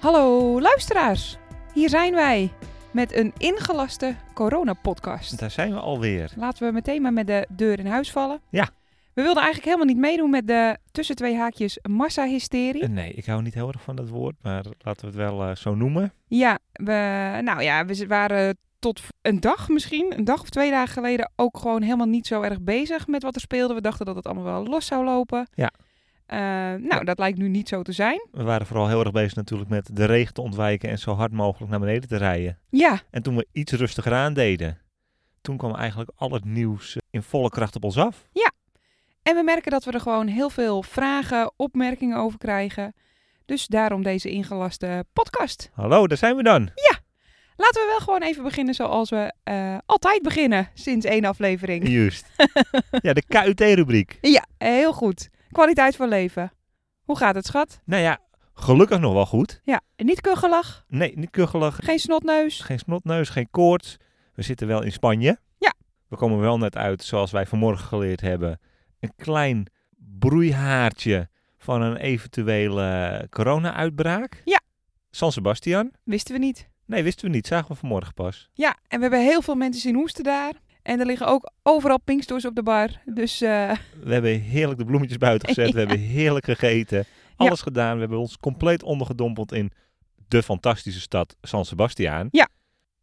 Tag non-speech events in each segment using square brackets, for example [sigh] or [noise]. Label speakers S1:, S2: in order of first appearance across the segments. S1: Hallo luisteraars, hier zijn wij met een ingelaste coronapodcast.
S2: Daar zijn we alweer.
S1: Laten we meteen maar met de deur in huis vallen.
S2: Ja.
S1: We wilden eigenlijk helemaal niet meedoen met de tussen twee haakjes massahysterie.
S2: Eh, Nee, ik hou niet heel erg van dat woord, maar laten we het wel eh, zo noemen.
S1: Ja, we, nou ja, we z- waren tot v- een dag misschien, een dag of twee dagen geleden, ook gewoon helemaal niet zo erg bezig met wat er speelde. We dachten dat het allemaal wel los zou lopen.
S2: Ja.
S1: Eh, nou, dat lijkt nu niet zo te zijn.
S2: We waren vooral heel erg bezig natuurlijk met de regen te ontwijken en zo hard mogelijk naar beneden te rijden.
S1: Ja,
S2: En toen we iets rustiger aandeden, toen kwam eigenlijk al het nieuws eh, in volle kracht op ons af.
S1: en we merken dat we er gewoon heel veel vragen, opmerkingen over krijgen. Dus daarom deze ingelaste podcast.
S2: Hallo, daar zijn we [laughs] dan.
S1: Laten we wel gewoon even beginnen zoals we eh, altijd beginnen sinds één aflevering.
S2: Juist. Ja, de KUT-rubriek.
S1: Ja, heel goed. Kwaliteit van leven. Hoe gaat het, schat?
S2: Nou ja, gelukkig nog wel goed.
S1: Ja, niet kuggelig,
S2: Nee, niet kuggelig,
S1: geen snotneus.
S2: geen snotneus, geen koorts. We zitten wel in Spanje.
S1: Ja.
S2: We komen wel net uit, zoals wij vanmorgen geleerd hebben, een klein broeihaartje van een eventuele corona-uitbraak.
S1: Ja.
S2: San Sebastian?
S1: Wisten we niet.
S2: Nee, wisten we niet. Zagen we vanmorgen pas.
S1: Ja, en we hebben heel veel mensen zien hoesten daar. En er liggen ook overal pinksters op de bar. Dus eh,
S2: We hebben heerlijk de bloemetjes buiten gezet. We
S1: [laughs] Ja.
S2: hebben heerlijk gegeten. Alles gedaan. We hebben ons compleet ondergedompeld in de fantastische stad San Sebastian.
S1: Ja.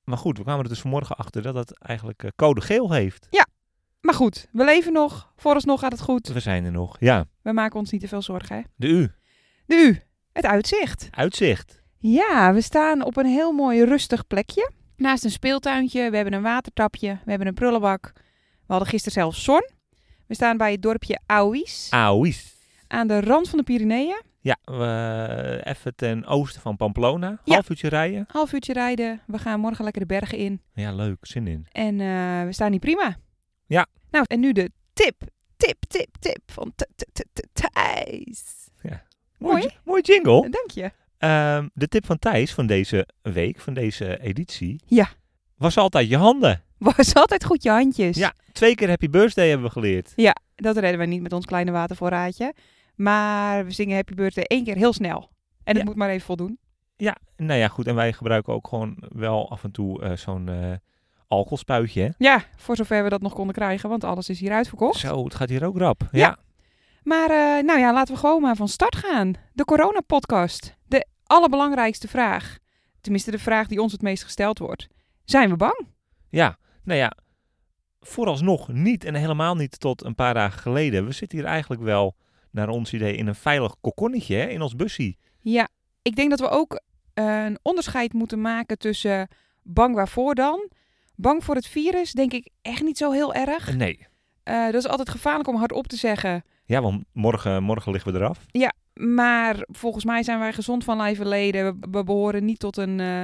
S2: Maar goed, we kwamen er dus vanmorgen achter dat dat eigenlijk eh, code geel heeft.
S1: maar goed, we leven nog. Vooralsnog gaat het goed.
S2: We zijn er nog. Ja,
S1: We maken ons niet te veel zorgen, hè?
S2: de U.
S1: De U, het uitzicht.
S2: Uitzicht.
S1: Ja, we staan op een heel mooi rustig plekje. Naast een speeltuintje, we hebben een watertapje, we hebben een prullenbak. We hadden gisteren zelfs zon. We staan bij het dorpje Auis,
S2: Ah. Auis.
S1: aan de rand van de Pyreneeën.
S2: Ja, we, eh, even ten oosten van Pamplona.
S1: Ja.
S2: Half uurtje rijden.
S1: Half uurtje rijden, we gaan morgen lekker de bergen in.
S2: Ja, leuk. Zin in.
S1: En eh, we staan hier prima.
S2: Ja.
S1: Nou, en nu de tip, tip, tip, tip van Th- Th- Th- Th- Thijs. [laughs] Mooi, Eh,
S2: j- Mooi jingle.
S1: Dank je.
S2: Ehm, de tip van Thijs van deze week, van deze editie.
S1: Ja.
S2: Was altijd je handen.
S1: Was altijd goed je handjes.
S2: Ja, twee keer Happy Birthday hebben we geleerd.
S1: Dat redden we niet met ons kleine watervoorraadje. Maar we zingen Happy Birthday één keer heel snel. En het
S2: Ja.
S1: moet maar even voldoen.
S2: Ja, nou ja, goed. En wij gebruiken ook gewoon wel af en toe eh, zo'n eh, alcoholspuitje. Hè?
S1: Ja, voor zover we dat nog konden krijgen, want alles is hier uitverkocht.
S2: Zo, het gaat hier ook rap. Ja.
S1: Ja. Maar eh, nou ja, laten we gewoon maar van start gaan. De coronapodcast. De allerbelangrijkste vraag. Tenminste, de vraag die ons het meest gesteld wordt. Zijn we bang?
S2: Ja, nou ja, vooralsnog niet en helemaal niet tot een paar dagen geleden. We zitten hier eigenlijk wel, naar ons idee, in een veilig kokonnetje, hè, in ons bussie.
S1: Ja, ik denk dat we ook eh, een onderscheid moeten maken tussen bang waarvoor dan. Bang voor het virus denk ik echt niet zo heel erg.
S2: Nee.
S1: Eh, dat is altijd gevaarlijk om hardop te zeggen.
S2: Ja, want morgen, morgen liggen we eraf.
S1: Maar volgens mij zijn wij gezond van lijf en leden. We, we behoren niet tot een, eh,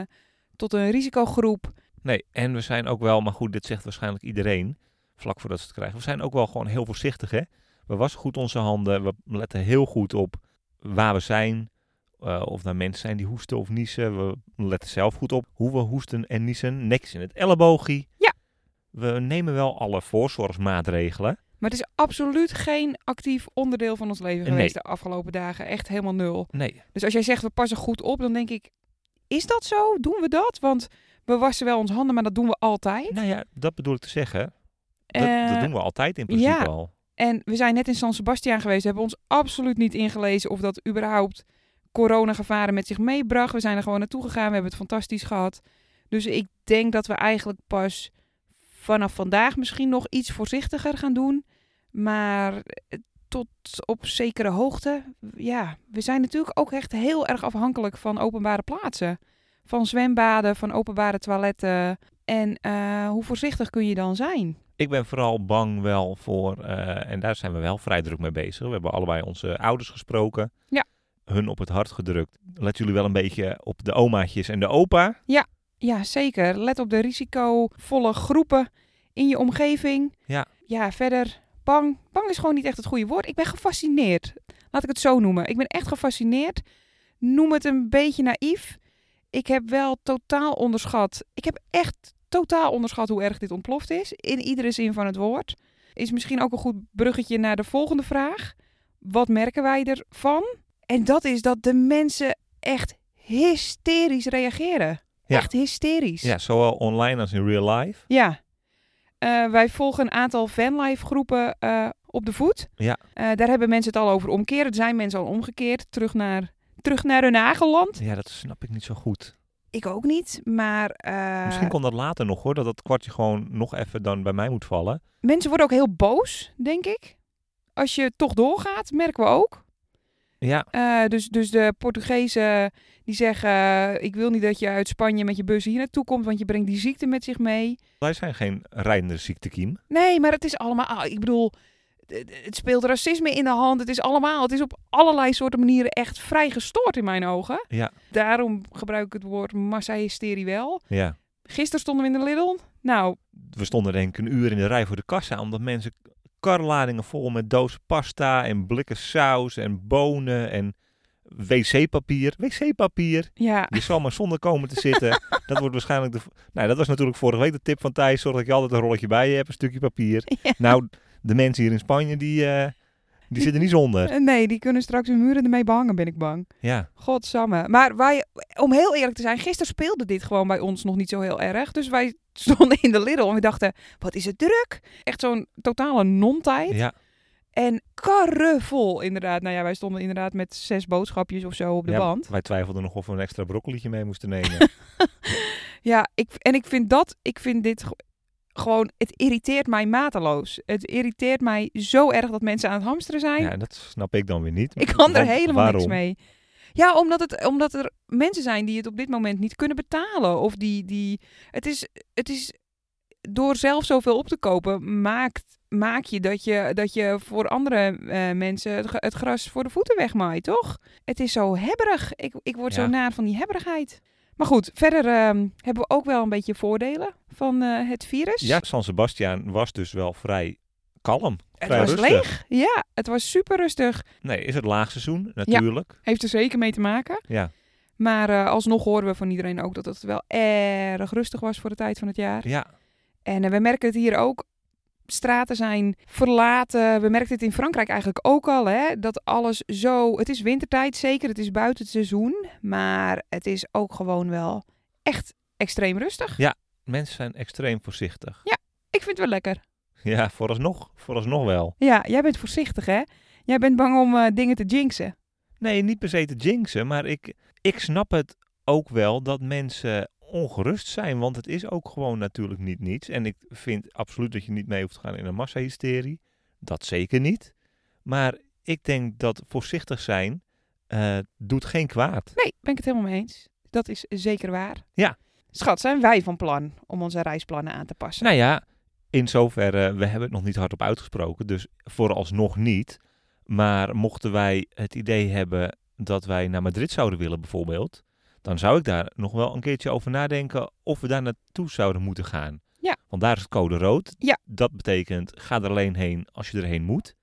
S1: tot een risicogroep.
S2: Nee, en we zijn ook wel, maar goed, dit zegt waarschijnlijk iedereen, vlak voordat ze het krijgen. We zijn ook wel gewoon heel voorzichtig, hè. We wassen goed onze handen, we letten heel goed op waar we zijn, eh, of daar mensen zijn die hoesten of niezen. We letten zelf goed op hoe we hoesten en niezen, niks in het elleboogje.
S1: Ja.
S2: We nemen wel alle voorzorgsmaatregelen.
S1: Maar het is absoluut geen actief onderdeel van ons leven
S2: Nee.
S1: geweest de afgelopen dagen. Echt helemaal nul.
S2: Nee,
S1: Dus als jij zegt we passen goed op, dan denk ik, is dat zo? Doen we dat? Want we wassen wel onze handen, maar dat doen we altijd.
S2: nou ja, dat bedoel ik te zeggen. Dat, dat
S1: Eh,
S2: doen we altijd in principe
S1: ja.
S2: al.
S1: En we zijn net in San Sebastian geweest. We hebben ons absoluut niet ingelezen of dat überhaupt coronagevaren met zich meebracht. We zijn er gewoon naartoe gegaan. We hebben het fantastisch gehad. Dus ik denk dat we eigenlijk pas vanaf vandaag misschien nog iets voorzichtiger gaan doen. Maar eh, tot op zekere hoogte, ja. We zijn natuurlijk ook echt heel erg afhankelijk van openbare plaatsen. Van zwembaden, van openbare toiletten. En eh, hoe voorzichtig kun je dan zijn?
S2: Ik ben vooral bang wel voor, eh, en daar zijn we wel vrij druk mee bezig. We hebben allebei onze ouders gesproken.
S1: Ja.
S2: Hun op het hart gedrukt. Let jullie wel een beetje op de omaatjes en de opa.
S1: Ja, zeker. Let op de risicovolle groepen in je omgeving.
S2: Ja.
S1: Ja, verder. Bang. Bang is gewoon niet echt het goede woord. Ik ben gefascineerd. Laat ik het zo noemen. Ik ben echt gefascineerd. Noem het een beetje naïef. Ik heb wel totaal onderschat. Ik heb echt totaal onderschat hoe erg dit ontploft is. In iedere zin van het woord. Is misschien ook een goed bruggetje naar de volgende vraag. Wat merken wij ervan? En dat is dat de mensen echt hysterisch reageren.
S2: Ja.
S1: Echt hysterisch.
S2: Ja, zowel online als in real life.
S1: Ja. Eh, wij volgen een aantal fanlife groepen eh, op de voet.
S2: Ja.
S1: Eh, daar hebben mensen het al over omkeren. Er zijn mensen al omgekeerd. Terug naar, terug naar hun eigen land.
S2: Ja, dat snap ik niet zo goed.
S1: Ik ook niet. Maar eh,
S2: Misschien komt dat later nog hoor, dat dat kwartje gewoon nog even dan bij mij moet vallen.
S1: mensen worden ook heel boos, denk ik. Als je toch doorgaat, merken we ook.
S2: Ja,
S1: Eh, dus, dus de Portugezen die zeggen... eh, ik wil niet dat je uit Spanje met je bus hier naartoe komt... want je brengt die ziekte met zich mee.
S2: wij zijn geen rijdende ziektekiem.
S1: Nee, maar het is allemaal. ah, ik bedoel, het het speelt racisme in de hand. Het is allemaal. Het is op allerlei soorten manieren echt vrij gestoord in mijn ogen.
S2: Ja.
S1: Daarom gebruik ik het woord massa-hysterie wel.
S2: Ja.
S1: Gisteren stonden we in de Lidl. Nou,
S2: we stonden denk ik een uur in de rij voor de kassa, omdat mensen karladingen vol met dozen pasta en blikken saus en bonen en wc-papier. Wc-papier.
S1: ja.
S2: Je zal maar zonder komen te
S1: [laughs]
S2: zitten. Dat wordt waarschijnlijk de. Nou, dat was natuurlijk vorige week de tip van Thijs. Zorg dat je altijd een rolletje bij je hebt, een stukje papier.
S1: [laughs] Ja.
S2: Nou, de mensen hier in Spanje die, eh, die zitten niet
S1: [laughs]
S2: zonder.
S1: Nee, die kunnen straks hun muren ermee behangen, ben ik bang.
S2: Ja,
S1: Godsamme. Maar wij, om heel eerlijk te zijn, gisteren speelde dit gewoon bij ons nog niet zo heel erg. Dus wij [laughs] stonden in de Lidl en we dachten, wat is het druk? Echt zo'n totale non-tijd.
S2: ja,
S1: En karrevol, inderdaad. Nou ja, wij stonden inderdaad met zes boodschapjes of zo op de
S2: Ja,
S1: band.
S2: Wij twijfelden nog of we een extra broccolietje mee moesten
S1: [laughs]
S2: nemen.
S1: Ja, ik, en ik vind dat, ik vind dit ge- gewoon, het irriteert mij mateloos. Het irriteert mij zo erg dat mensen aan het hamsteren zijn.
S2: ja, dat snap ik dan weer niet.
S1: ik kan er
S2: Want
S1: helemaal niks
S2: waarom?
S1: mee. Ja, omdat, het, omdat er mensen zijn die het op dit moment niet kunnen betalen. Of die, die het, is, het is, door zelf zoveel op te kopen, maakt, maak je dat je, dat je voor andere eh, mensen het, ge- het gras voor de voeten wegmaait, toch? Het is zo hebberig. Ik, ik word
S2: Ja.
S1: zo naar van die hebberigheid. Maar goed, verder ehm, hebben we ook wel een beetje voordelen van eh, het virus.
S2: Ja, San Sebastian was dus wel vrij kalm.
S1: het
S2: vrij
S1: was
S2: rustig.
S1: leeg. Ja, het was super rustig.
S2: Nee, is het laagseizoen natuurlijk.
S1: Heeft er zeker mee te maken.
S2: Ja.
S1: Maar eh, alsnog horen we van iedereen ook dat het wel erg rustig was voor de tijd van het jaar.
S2: Ja.
S1: En eh, we merken het hier ook. Straten zijn verlaten. We merken het in Frankrijk eigenlijk ook al. Hè? Dat alles zo. Het is wintertijd zeker. Het is buiten het seizoen. Maar het is ook gewoon wel echt extreem rustig.
S2: mensen zijn extreem voorzichtig.
S1: Ik vind het wel lekker.
S2: Ja, vooralsnog, vooralsnog wel.
S1: Ja, jij bent voorzichtig hè? Jij bent bang om eh, dingen te jinxen.
S2: Nee, niet per se te jinxen, maar ik, ik snap het ook wel dat mensen ongerust zijn, want het is ook gewoon natuurlijk niet niets. En ik vind absoluut dat je niet mee hoeft te gaan in een massahysterie. Dat zeker niet. Maar ik denk dat voorzichtig zijn eh, doet geen kwaad.
S1: Nee, ben ik het helemaal mee eens. Dat is zeker waar.
S2: Ja.
S1: Schat, zijn wij van plan om onze reisplannen aan te passen?
S2: Nou ja, in zoverre, we hebben het nog niet hardop uitgesproken, dus vooralsnog niet. Maar mochten wij het idee hebben dat wij naar Madrid zouden willen bijvoorbeeld, dan zou ik daar nog wel een keertje over nadenken of we daar naartoe zouden moeten gaan.
S1: Ja.
S2: Want daar is het code rood.
S1: Ja.
S2: Dat betekent, ga er alleen heen als je erheen moet.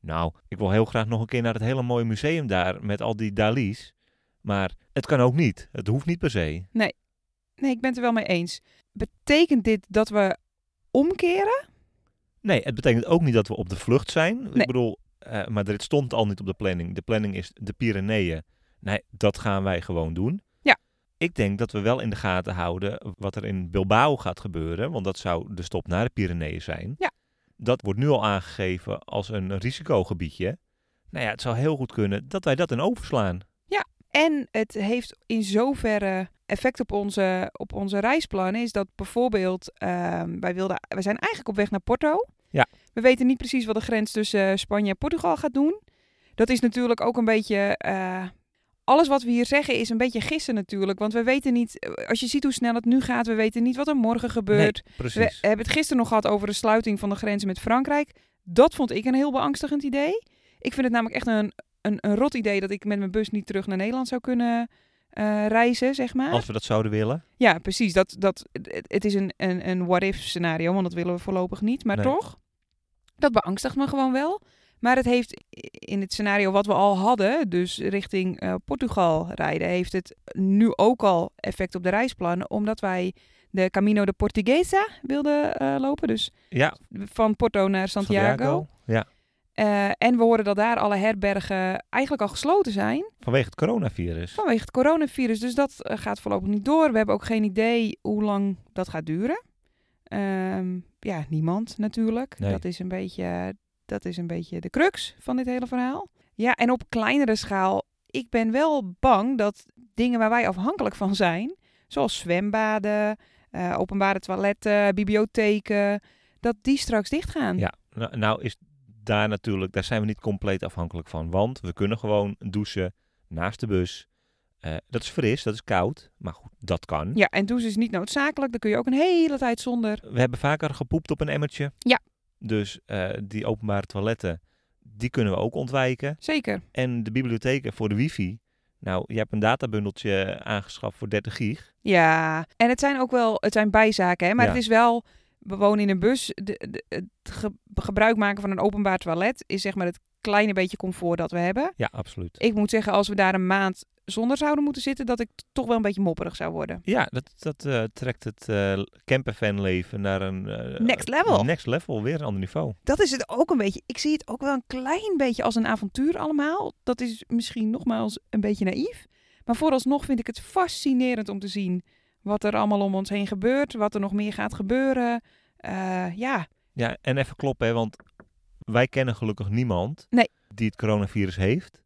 S2: Nou, ik wil heel graag nog een keer naar het hele mooie museum daar met al die Dali's. Maar het kan ook niet. Het hoeft niet per se.
S1: Nee, ik ben het er wel mee eens. Betekent dit dat we omkeren?
S2: Nee, het betekent ook niet dat we op de vlucht zijn. Ik
S1: Nee.
S2: bedoel, eh, Madrid stond al niet op de planning. De planning is de Pyreneeën. Nee, dat gaan wij gewoon doen.
S1: Ja.
S2: Ik denk dat we wel in de gaten houden wat er in Bilbao gaat gebeuren. Want dat zou de stop naar de Pyreneeën zijn.
S1: Ja.
S2: Dat wordt nu al aangegeven als een risicogebiedje. Nou ja, het zou heel goed kunnen dat wij dat in overslaan.
S1: En het heeft in zoverre effect op onze, op onze reisplannen. Is dat bijvoorbeeld, ehm, wij, wilden, wij zijn eigenlijk op weg naar Porto.
S2: Ja.
S1: We weten niet precies wat de grens tussen eh, Spanje en Portugal gaat doen. Dat is natuurlijk ook een beetje eh, alles wat we hier zeggen is een beetje gissen natuurlijk. Want we weten niet, eh, als je ziet hoe snel het nu gaat, we weten niet wat er morgen gebeurt.
S2: Nee, precies.
S1: We hebben het gisteren nog gehad over de sluiting van de grenzen met Frankrijk. Dat vond ik een heel beangstigend idee. Ik vind het namelijk echt een, een, een rot idee dat ik met mijn bus niet terug naar Nederland zou kunnen eh, reizen, zeg maar.
S2: Als we dat zouden willen.
S1: Ja, precies. Dat, dat, het, het is een, een, een what-if scenario, want dat willen we voorlopig niet. Maar
S2: Nee.
S1: toch, dat beangstigt me gewoon wel. Maar het heeft in het scenario wat we al hadden, dus richting eh, Portugal rijden, heeft het nu ook al effect op de reisplannen, omdat wij de Camino de Portuguesa wilden eh, lopen. Dus
S2: Ja,
S1: van Porto naar Santiago.
S2: Ja,
S1: Eh, en we horen dat daar alle herbergen eigenlijk al gesloten zijn
S2: vanwege het coronavirus.
S1: vanwege het coronavirus. Dus dat eh, gaat voorlopig niet door. We hebben ook geen idee hoe lang dat gaat duren. Ehm, ja, niemand natuurlijk.
S2: Nee.
S1: Dat, is een beetje, dat is een beetje de crux van dit hele verhaal. Ja, en op kleinere schaal, ik ben wel bang dat dingen waar wij afhankelijk van zijn, zoals zwembaden, eh, openbare toiletten, bibliotheken, dat die straks dichtgaan.
S2: Ja, nou, nou is daar natuurlijk, daar zijn we niet compleet afhankelijk van. Want we kunnen gewoon douchen naast de bus. Eh, dat is fris, dat is koud. Maar goed, dat kan.
S1: Ja, en douchen is niet noodzakelijk. Dan kun je ook een hele tijd zonder.
S2: We hebben vaker gepoept op een emmertje.
S1: Ja.
S2: Dus eh, die openbare toiletten, die kunnen we ook ontwijken.
S1: Zeker.
S2: En de bibliotheken voor de wifi. Nou, je hebt een databundeltje aangeschaft voor 30 gig.
S1: Ja, en het zijn ook wel, het zijn bijzaken, hè? maar
S2: Ja.
S1: het is wel, we wonen in een bus, de, de- het ge- gebruik maken van een openbaar toilet is zeg maar het kleine beetje comfort dat we hebben.
S2: Ja, absoluut.
S1: Ik moet zeggen, als we daar een maand zonder zouden moeten zitten, dat ik t- toch wel een beetje mopperig zou worden.
S2: Ja, dat, dat eh, trekt het eh camperfanleven naar een... eh,
S1: Next level.
S2: Next level, weer een ander niveau.
S1: Dat is het ook een beetje, ik zie het ook wel een klein beetje als een avontuur allemaal. Dat is misschien nogmaals een beetje naïef, maar vooralsnog vind ik het fascinerend om te zien wat er allemaal om ons heen gebeurt, wat er nog meer gaat gebeuren. Eh, ja,
S2: Ja, en even kloppen, hè, want wij kennen gelukkig niemand
S1: Nee.
S2: die het coronavirus heeft.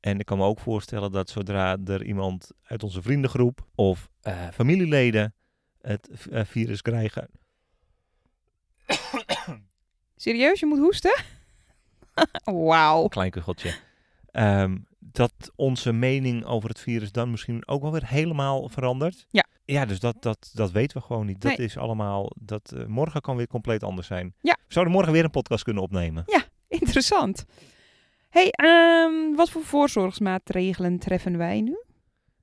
S2: En ik kan me ook voorstellen dat zodra er iemand uit onze vriendengroep of eh, familieleden het v- eh, virus krijgen. [coughs]
S1: Serieus, je moet hoesten? [laughs] Wauw.
S2: Klein kucheltje. ehm, dat onze mening over het virus dan misschien ook wel weer helemaal verandert.
S1: Ja.
S2: Ja, dus dat, dat, dat weten we gewoon niet. Dat
S1: Nee.
S2: is allemaal. Dat, eh, morgen kan weer compleet anders zijn.
S1: Ja.
S2: We zouden morgen weer een podcast kunnen opnemen.
S1: Interessant. hey, ehm, wat voor voorzorgsmaatregelen treffen wij nu?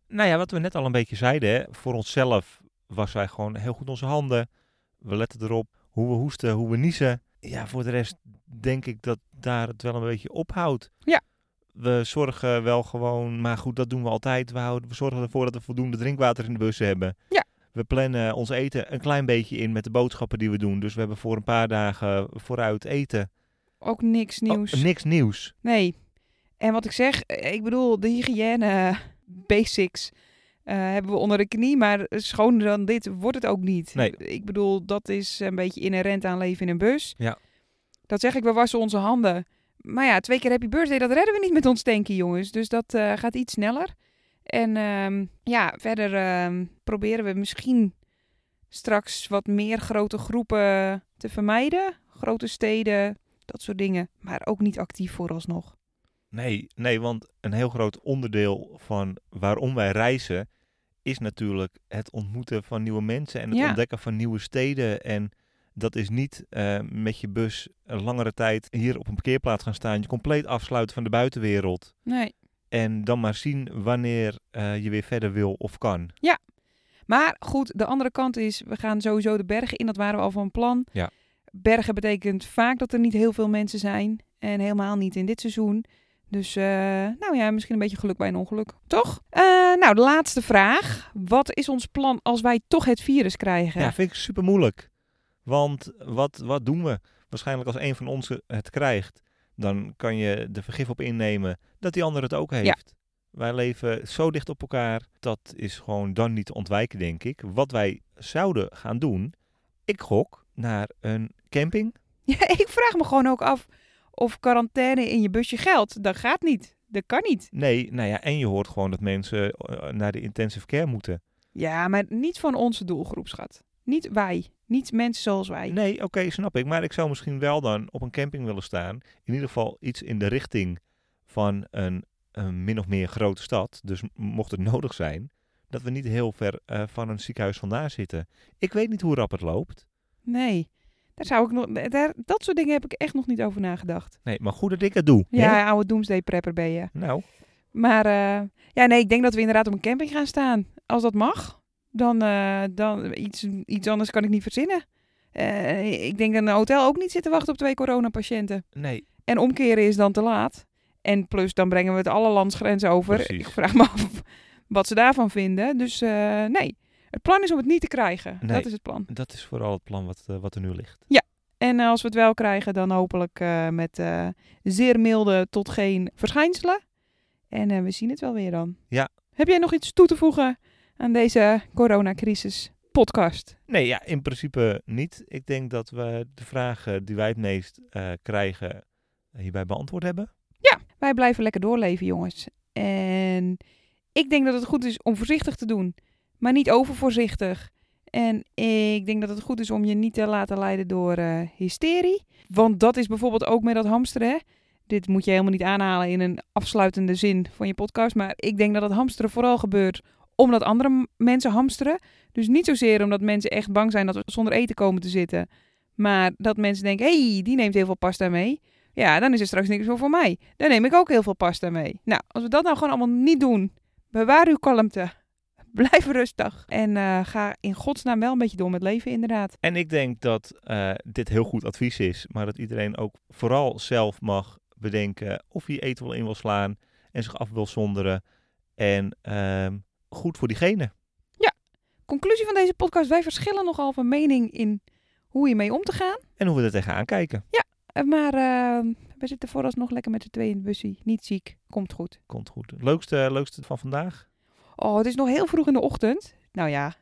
S2: Nou ja, wat we net al een beetje zeiden, hè, voor onszelf was wij gewoon heel goed onze handen. We letten erop hoe we hoesten, hoe we niezen. Ja, voor de rest denk ik dat daar het wel een beetje ophoudt.
S1: Ja.
S2: We zorgen wel gewoon, maar goed, dat doen we altijd. We, houden, we zorgen ervoor dat we voldoende drinkwater in de bussen hebben.
S1: Ja.
S2: We plannen ons eten een klein beetje in met de boodschappen die we doen. Dus we hebben voor een paar dagen vooruit eten.
S1: Ook niks nieuws.
S2: Oh, niks nieuws.
S1: nee. En wat ik zeg, eh, ik bedoel, de hygiëne [laughs] eh, basics eh, hebben we onder de knie, maar schoner dan dit wordt het ook niet.
S2: Nee.
S1: Ik bedoel, dat is een beetje inherent aan leven in een bus.
S2: Ja.
S1: Dat zeg ik, we wassen onze handen. Maar ja, twee keer happy birthday, dat redden we niet met ons tanken, jongens. Dus dat eh, gaat iets sneller. En ehm, ja, verder ehm, proberen we misschien straks wat meer grote groepen te vermijden. Grote steden, dat soort dingen. Maar ook niet actief vooralsnog.
S2: Nee, nee, want een heel groot onderdeel van waarom wij reizen is natuurlijk het ontmoeten van nieuwe mensen en het
S1: Ja.
S2: ontdekken van nieuwe steden. En dat is niet eh, met je bus een langere tijd hier op een parkeerplaats gaan staan, je compleet afsluiten van de buitenwereld.
S1: Nee.
S2: En dan maar zien wanneer eh, je weer verder wil of kan.
S1: Maar goed, de andere kant is, we gaan sowieso de bergen in. Dat waren we al van plan.
S2: Ja.
S1: Bergen betekent vaak dat er niet heel veel mensen zijn. En helemaal niet in dit seizoen. Dus, eh, nou ja, misschien een beetje geluk bij een ongeluk. Toch? Eh, nou, de laatste vraag. Wat is ons plan als wij toch het virus krijgen?
S2: Ja, vind ik super moeilijk. Want wat, wat doen we? Waarschijnlijk als een van ons het krijgt, dan kan je de vergif op innemen dat die ander het ook heeft. Wij leven zo dicht op elkaar, dat is gewoon dan niet te ontwijken, denk ik. Wat wij zouden gaan doen, ik gok naar een camping.
S1: [laughs] Ja, ik vraag me gewoon ook af of quarantaine in je busje geldt. Dat gaat niet. Dat kan niet.
S2: Nee, nou ja, en je hoort gewoon dat mensen eh, naar de intensive care moeten.
S1: Ja, maar niet van onze doelgroep, schat. Niet wij. Niet mensen zoals wij.
S2: Nee, oké, snap ik. Maar ik zou misschien wel dan op een camping willen staan. In ieder geval iets in de richting van een een min of meer grote stad. Dus m- mocht het [laughs] nodig zijn, dat we niet heel ver eh, van een ziekenhuis vandaan zitten. Ik weet niet hoe rap het loopt.
S1: Nee, daar zou ik nog, daar, dat soort dingen heb ik echt nog niet over nagedacht.
S2: Nee, maar goed dat ik het doe. hè?
S1: Ja, oude doomsday prepper ben je.
S2: Nou,
S1: Maar eh, ja, nee, ik denk dat we inderdaad op een camping gaan staan. Als dat mag, dan, eh, dan iets, iets anders kan ik niet verzinnen. Eh, ik denk dat een hotel ook niet zit te wachten op twee coronapatiënten.
S2: nee,
S1: En omkeren is dan te laat. En plus, dan brengen we het alle landsgrenzen over.
S2: Precies.
S1: Ik vraag me af [laughs] wat ze daarvan vinden. Dus eh, nee, het plan is om het niet te krijgen.
S2: Nee.
S1: Dat is het plan.
S2: dat is vooral het plan wat, eh, wat er nu ligt.
S1: En eh, als we het wel krijgen, dan hopelijk eh, met eh, zeer milde tot geen verschijnselen. En eh, we zien het wel weer dan.
S2: Ja.
S1: Heb jij nog iets toe te voegen aan deze coronacrisis podcast?
S2: Nee, ja, in principe niet. Ik denk dat we de vragen die wij het meest eh, krijgen hierbij beantwoord hebben.
S1: Wij blijven lekker doorleven, jongens. En ik denk dat het goed is om voorzichtig te doen, maar niet overvoorzichtig. En ik denk dat het goed is om je niet te laten leiden door eh, hysterie. Want dat is bijvoorbeeld ook met dat hamsteren. Hè? Dit moet je helemaal niet aanhalen in een afsluitende zin van je podcast. Maar ik denk dat het hamsteren vooral gebeurt omdat andere m- mensen hamsteren. Dus niet zozeer omdat mensen echt bang zijn dat we zonder eten komen te zitten. Maar dat mensen denken, hey, die neemt heel veel pasta mee. Ja, dan is er straks niks meer voor mij. Dan neem ik ook heel veel pasta mee. Nou, als we dat nou gewoon allemaal niet doen, bewaar uw kalmte. [laughs] Blijf rustig. En eh, ga in godsnaam wel een beetje door met leven, inderdaad.
S2: En ik denk dat eh, dit heel goed advies is, maar dat iedereen ook vooral zelf mag bedenken of hij eten wil in wil slaan en zich af wil zonderen. En ehm, goed voor diegene.
S1: Conclusie van deze podcast: wij verschillen nogal van mening in hoe hiermee om te gaan.
S2: En hoe we er tegenaan kijken.
S1: Eh, Maar eh, we zitten vooralsnog lekker met z'n tweeën in het busje. Niet ziek, komt goed.
S2: Komt goed. Leukste, leukste van vandaag?
S1: Oh, het is nog heel vroeg in de ochtend. Nou ja,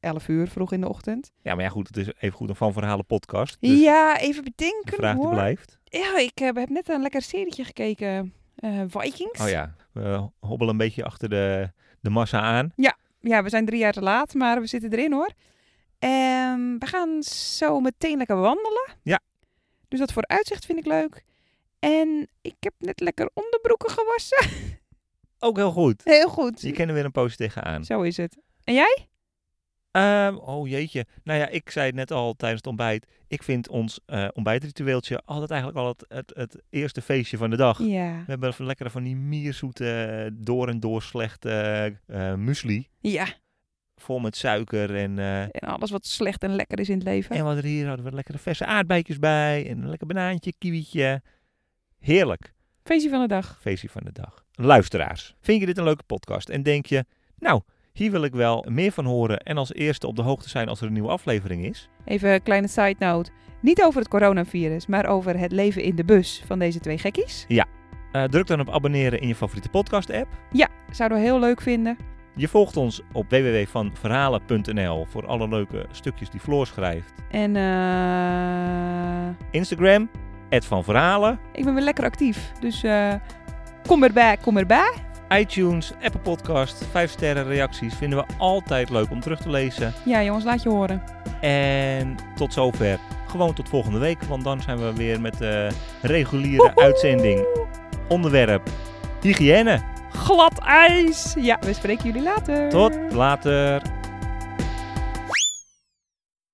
S1: 11 uur vroeg in de ochtend.
S2: Ja, maar ja, goed, het is even goed een van verhalen podcast. Dus
S1: ja, even
S2: de
S1: bedenken
S2: vraag die
S1: hoor.
S2: blijft.
S1: Ja, ik eh, heb net een lekker serietje gekeken. Eh, Vikings.
S2: Oh ja, we hobbelen een beetje achter de, de massa aan.
S1: ja, we zijn drie jaar te laat, maar we zitten erin hoor. En we gaan zo meteen lekker wandelen.
S2: Ja.
S1: Dus dat vooruitzicht vind ik leuk. En ik heb net lekker onderbroeken gewassen. [laughs]
S2: Ook heel goed.
S1: Heel goed.
S2: Je kennen weer een poosje tegenaan.
S1: Zo is het.
S2: Ehm, oh jeetje. Nou ja, ik zei het net al tijdens het ontbijt. Ik vind ons eh, ontbijtritueeltje altijd eigenlijk al het, het, het eerste feestje van de dag.
S1: Ja.
S2: We hebben van lekkere van die mierzoete, door en door slechte eh, eh, muesli.
S1: Ja.
S2: Vol met suiker en... eh,
S1: En alles wat slecht en lekker is in het leven.
S2: en wat er hier hadden we lekkere verse aardbeikjes bij. En een lekker banaantje, kiwietje. Heerlijk.
S1: Feestje van de dag.
S2: feestje van de dag. Luisteraars, vind je dit een leuke podcast en denk je, nou, hier wil ik wel meer van horen en als eerste op de hoogte zijn als er een nieuwe aflevering is?
S1: Even een kleine side note. Niet over het coronavirus, maar over het leven in de bus van deze twee gekkies.
S2: Eh, druk dan op abonneren in je favoriete podcast-app.
S1: Zouden we heel leuk vinden.
S2: Je volgt ons op www.vanverhalen.nl voor alle leuke stukjes die Floor schrijft.
S1: En eh,
S2: Instagram, Van Verhalen,
S1: ik ben weer lekker actief. Dus eh, kom erbij, kom erbij.
S2: iTunes, Apple Podcast, 5 sterren reacties vinden we altijd leuk om terug te lezen.
S1: Ja, jongens, laat je horen.
S2: En tot zover. Gewoon tot volgende week, want dan zijn we weer met de reguliere
S1: Woehoe!
S2: uitzending. onderwerp hygiëne.
S1: Glad ijs. Ja, we spreken jullie later.
S2: Tot later.